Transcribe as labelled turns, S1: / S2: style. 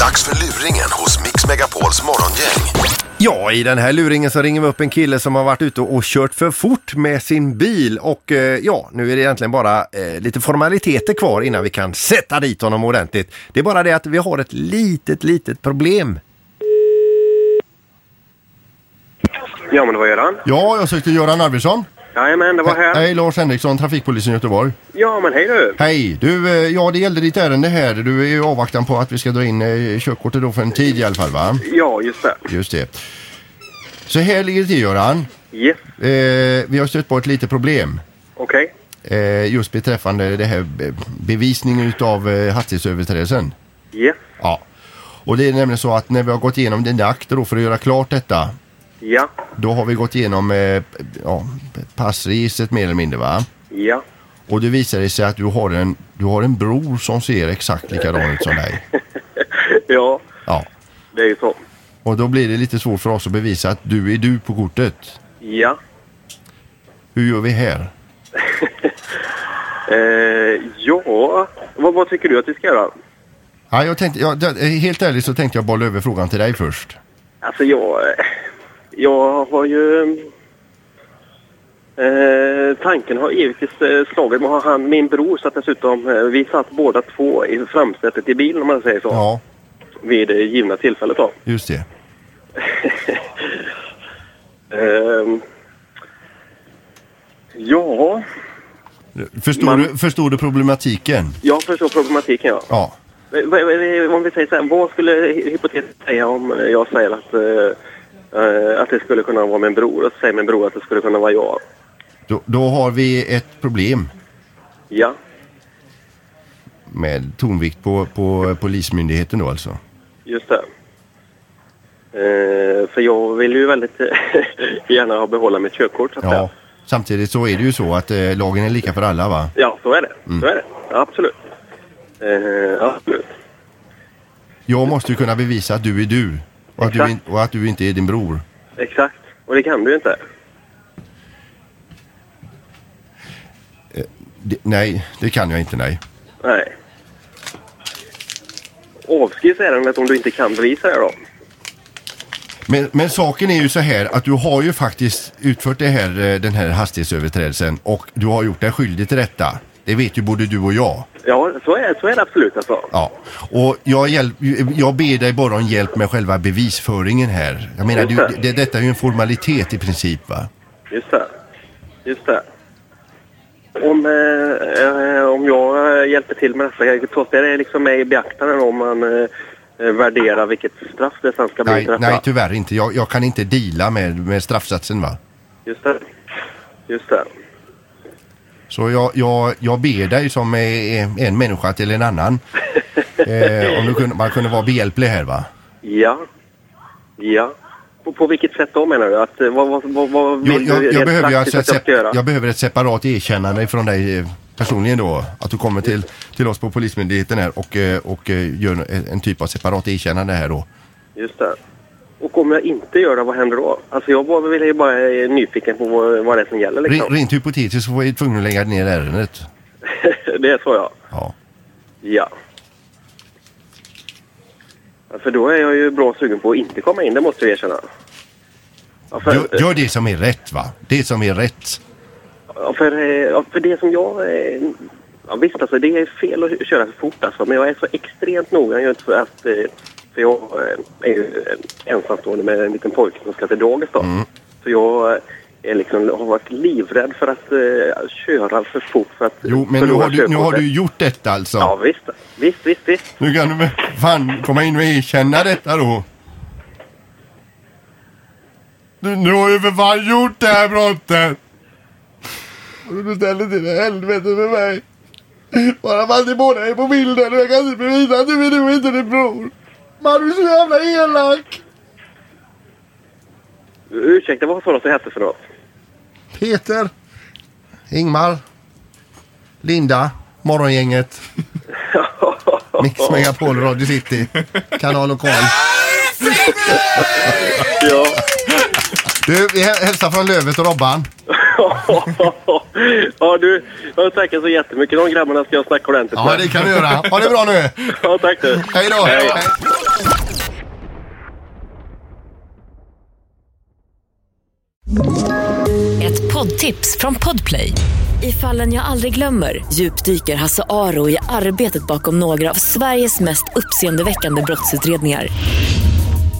S1: Dags för luringen hos Mix Megapols morgongäng.
S2: Ja, i den här luringen så ringer vi upp en kille som har varit ute och kört för fort med sin bil och eh, ja, nu är det egentligen bara eh, lite formaliteter kvar innan vi kan sätta dit honom ordentligt. Det är bara det att vi har ett litet, litet problem.
S3: Ja, men det var Göran.
S2: Ja, jag sökte Göran Arvidsson.
S3: Jajamän, det var här.
S2: Hej, Lars Henriksson, trafikpolisen i Göteborg.
S3: Ja, men hej du.
S2: Hej, du, eh, ja det gällde ditt ärende här. Du är ju i avvaktan på att vi ska dra in eh, körkortet då för en tid i alla fall va?
S3: Ja, just det.
S2: Just det. Så här ligger det till Göran.
S3: Yes,
S2: Eh, vi har stött på ett litet problem.
S3: okej.
S2: Eh, just beträffande det här be- bevisningen utav eh, hastighetsöverträdelsen.
S3: Yes,
S2: Ja. Och det är nämligen så att när vi har gått igenom dina akter då för att göra klart detta.
S3: ja,
S2: Då har vi gått igenom eh, ja, passregistret mer eller mindre va?
S3: ja.
S2: Och det visar det sig att du har en, du har en bror som ser exakt likadan ut som dig.
S3: Ja,
S2: Ja.
S3: det är ju så.
S2: Och då blir det lite svårt för oss att bevisa att du är du på kortet.
S3: Ja.
S2: Hur gör vi här?
S3: Eh, ja, vad, vad tycker du att vi ska göra?
S2: Ja, jag tänkte, ja, det- helt ärligt så tänkte jag bolla över frågan till dig först.
S3: Alltså jag... eh, Jag har ju... Eh, tanken har givetvis eh, slagit mig. Har han, min bror satt dessutom... Eh, vi satt båda två i framsätet i bilen om man säger så.
S2: Ja,
S3: Vid det givna tillfället då.
S2: just det.
S3: Ehm, ja,
S2: Förstår,
S3: Man-
S2: du, förstår du problematiken?
S3: jag förstår problematiken ja.
S2: Ja.
S3: V- v- Om vi säger så här, vad skulle hy- hypotetiskt säga om jag säger att, eh, eh, att det skulle kunna vara min bror och så säger min bror att det skulle kunna vara jag?
S2: Då, då har vi ett problem
S3: Ja,
S2: med tonvikt på, på polismyndigheten då alltså.
S3: just det. Eh, för jag vill ju väldigt gärna ha behålla mitt körkort så att säga.
S2: Ja. Samtidigt så är det ju så att eh, lagen är lika för alla va?
S3: Ja, så är det. Så är det. Absolut. Eh, absolut.
S2: Jag måste ju kunna bevisa att du är du och att du, in,
S3: Exakt.
S2: och att du inte är din bror.
S3: Exakt. Och det kan du ju inte.
S2: Det, nej, det kan jag inte nej.
S3: Nej. Avskrivs ärendet om du inte kan bevisa det då?
S2: Men, men saken är ju så här att du har ju faktiskt utfört det här, eh, den här hastighetsöverträdelsen och du har gjort dig skyldig till detta. Det vet ju både du och jag.
S3: Ja, så är, så är det absolut alltså.
S2: Ja, och jag, hjälp, jag ber dig bara om hjälp med själva bevisföringen här. Jag menar, det, det, detta är ju en formalitet i princip va?
S3: Just det. Just det. Om, eh, eh, om jag eh, hjälper till med detta, jag tar det liksom med i beaktande om man eh, eh, värderar vilket straff det sen ska bli
S2: Nej,
S3: till detta.
S2: nej tyvärr inte. Jag, jag kan inte deala med, med straffsatsen va?
S3: Just det. Just det.
S2: Så jag, jag, jag ber dig som eh, en människa till en annan. Eh, om du kunde, man kunde vara behjälplig här va?
S3: Ja. Ja. På, på vilket sätt då menar du? Att, eh, vad, vad, vad, vad
S2: Jag,
S3: vill du
S2: jag, jag,
S3: rent
S2: behöver ju
S3: praktiskt
S2: alltså
S3: att jag
S2: ett,
S3: ska göra?
S2: sep- jag behöver ett separat erkännande från dig eh, personligen då. Att du kommer till, till oss på Polismyndigheten här och, eh, och eh, gör en, en typ av separat erkännande här då.
S3: Just det. Och om jag inte gör det, vad händer då? Alltså jag bara, vill ju bara är nyfiken på vad, vad det är som gäller
S2: Re-
S3: liksom.
S2: Rent hypotetiskt så var jag tvungen att lägga ner ärendet.
S3: det är så ja.
S2: Ja.
S3: Ja. Ja, För då är jag ju bra sugen på att inte komma in, det måste jag erkänna. Ja, för,
S2: Gör, gör det som är rätt va? Det som är rätt.
S3: ja, för, eh, ja, för det som jag... eh, Ja, visst, alltså, det är fel att köra för fort alltså, men jag är så extremt noga just för att... eh, För jag eh, är ju eh, ensamstående med en liten pojke som ska till dagis då.
S2: Mm.
S3: Så jag eh, är liksom, har varit livrädd för att eh, köra för fort för att
S2: Jo men nu
S3: förlora
S2: har du, nu har
S3: körkortet.
S2: du gjort detta alltså.
S3: Ja, visst. Visst, visst, visst.
S2: Nu kan du väl fan komma in och erkänna detta då. Du, nu har ju för fan gjort det här brottet. Och du ställer till det helvete för mig. Bara för att ni båda är på bilden och jag kan inte bevisa att du är du och inte din bror. Man du är så jävla elak.
S3: Ursäkta, vad sa du att det hette för något?
S2: Peter, Ingmar, Linda, Morgongänget, Mix Megapol, Radio City, Kanal Lokal.
S3: Ja.
S2: Du, vi häl- hälsar från Lövet och Robban.
S3: ja, du. Jag tackar så jättemycket. De grabbarna ska jag snacka ordentligt
S2: Ja,
S3: med.
S2: det kan du göra. Ha det bra nu.
S3: Ja, tack du.
S2: Hej då.
S3: Hej.
S2: Hej.
S4: poddtips från Podplay. I fallen jag aldrig glömmer djupdyker Hasse Aro i arbetet bakom några av Sveriges mest uppseendeväckande brottsutredningar.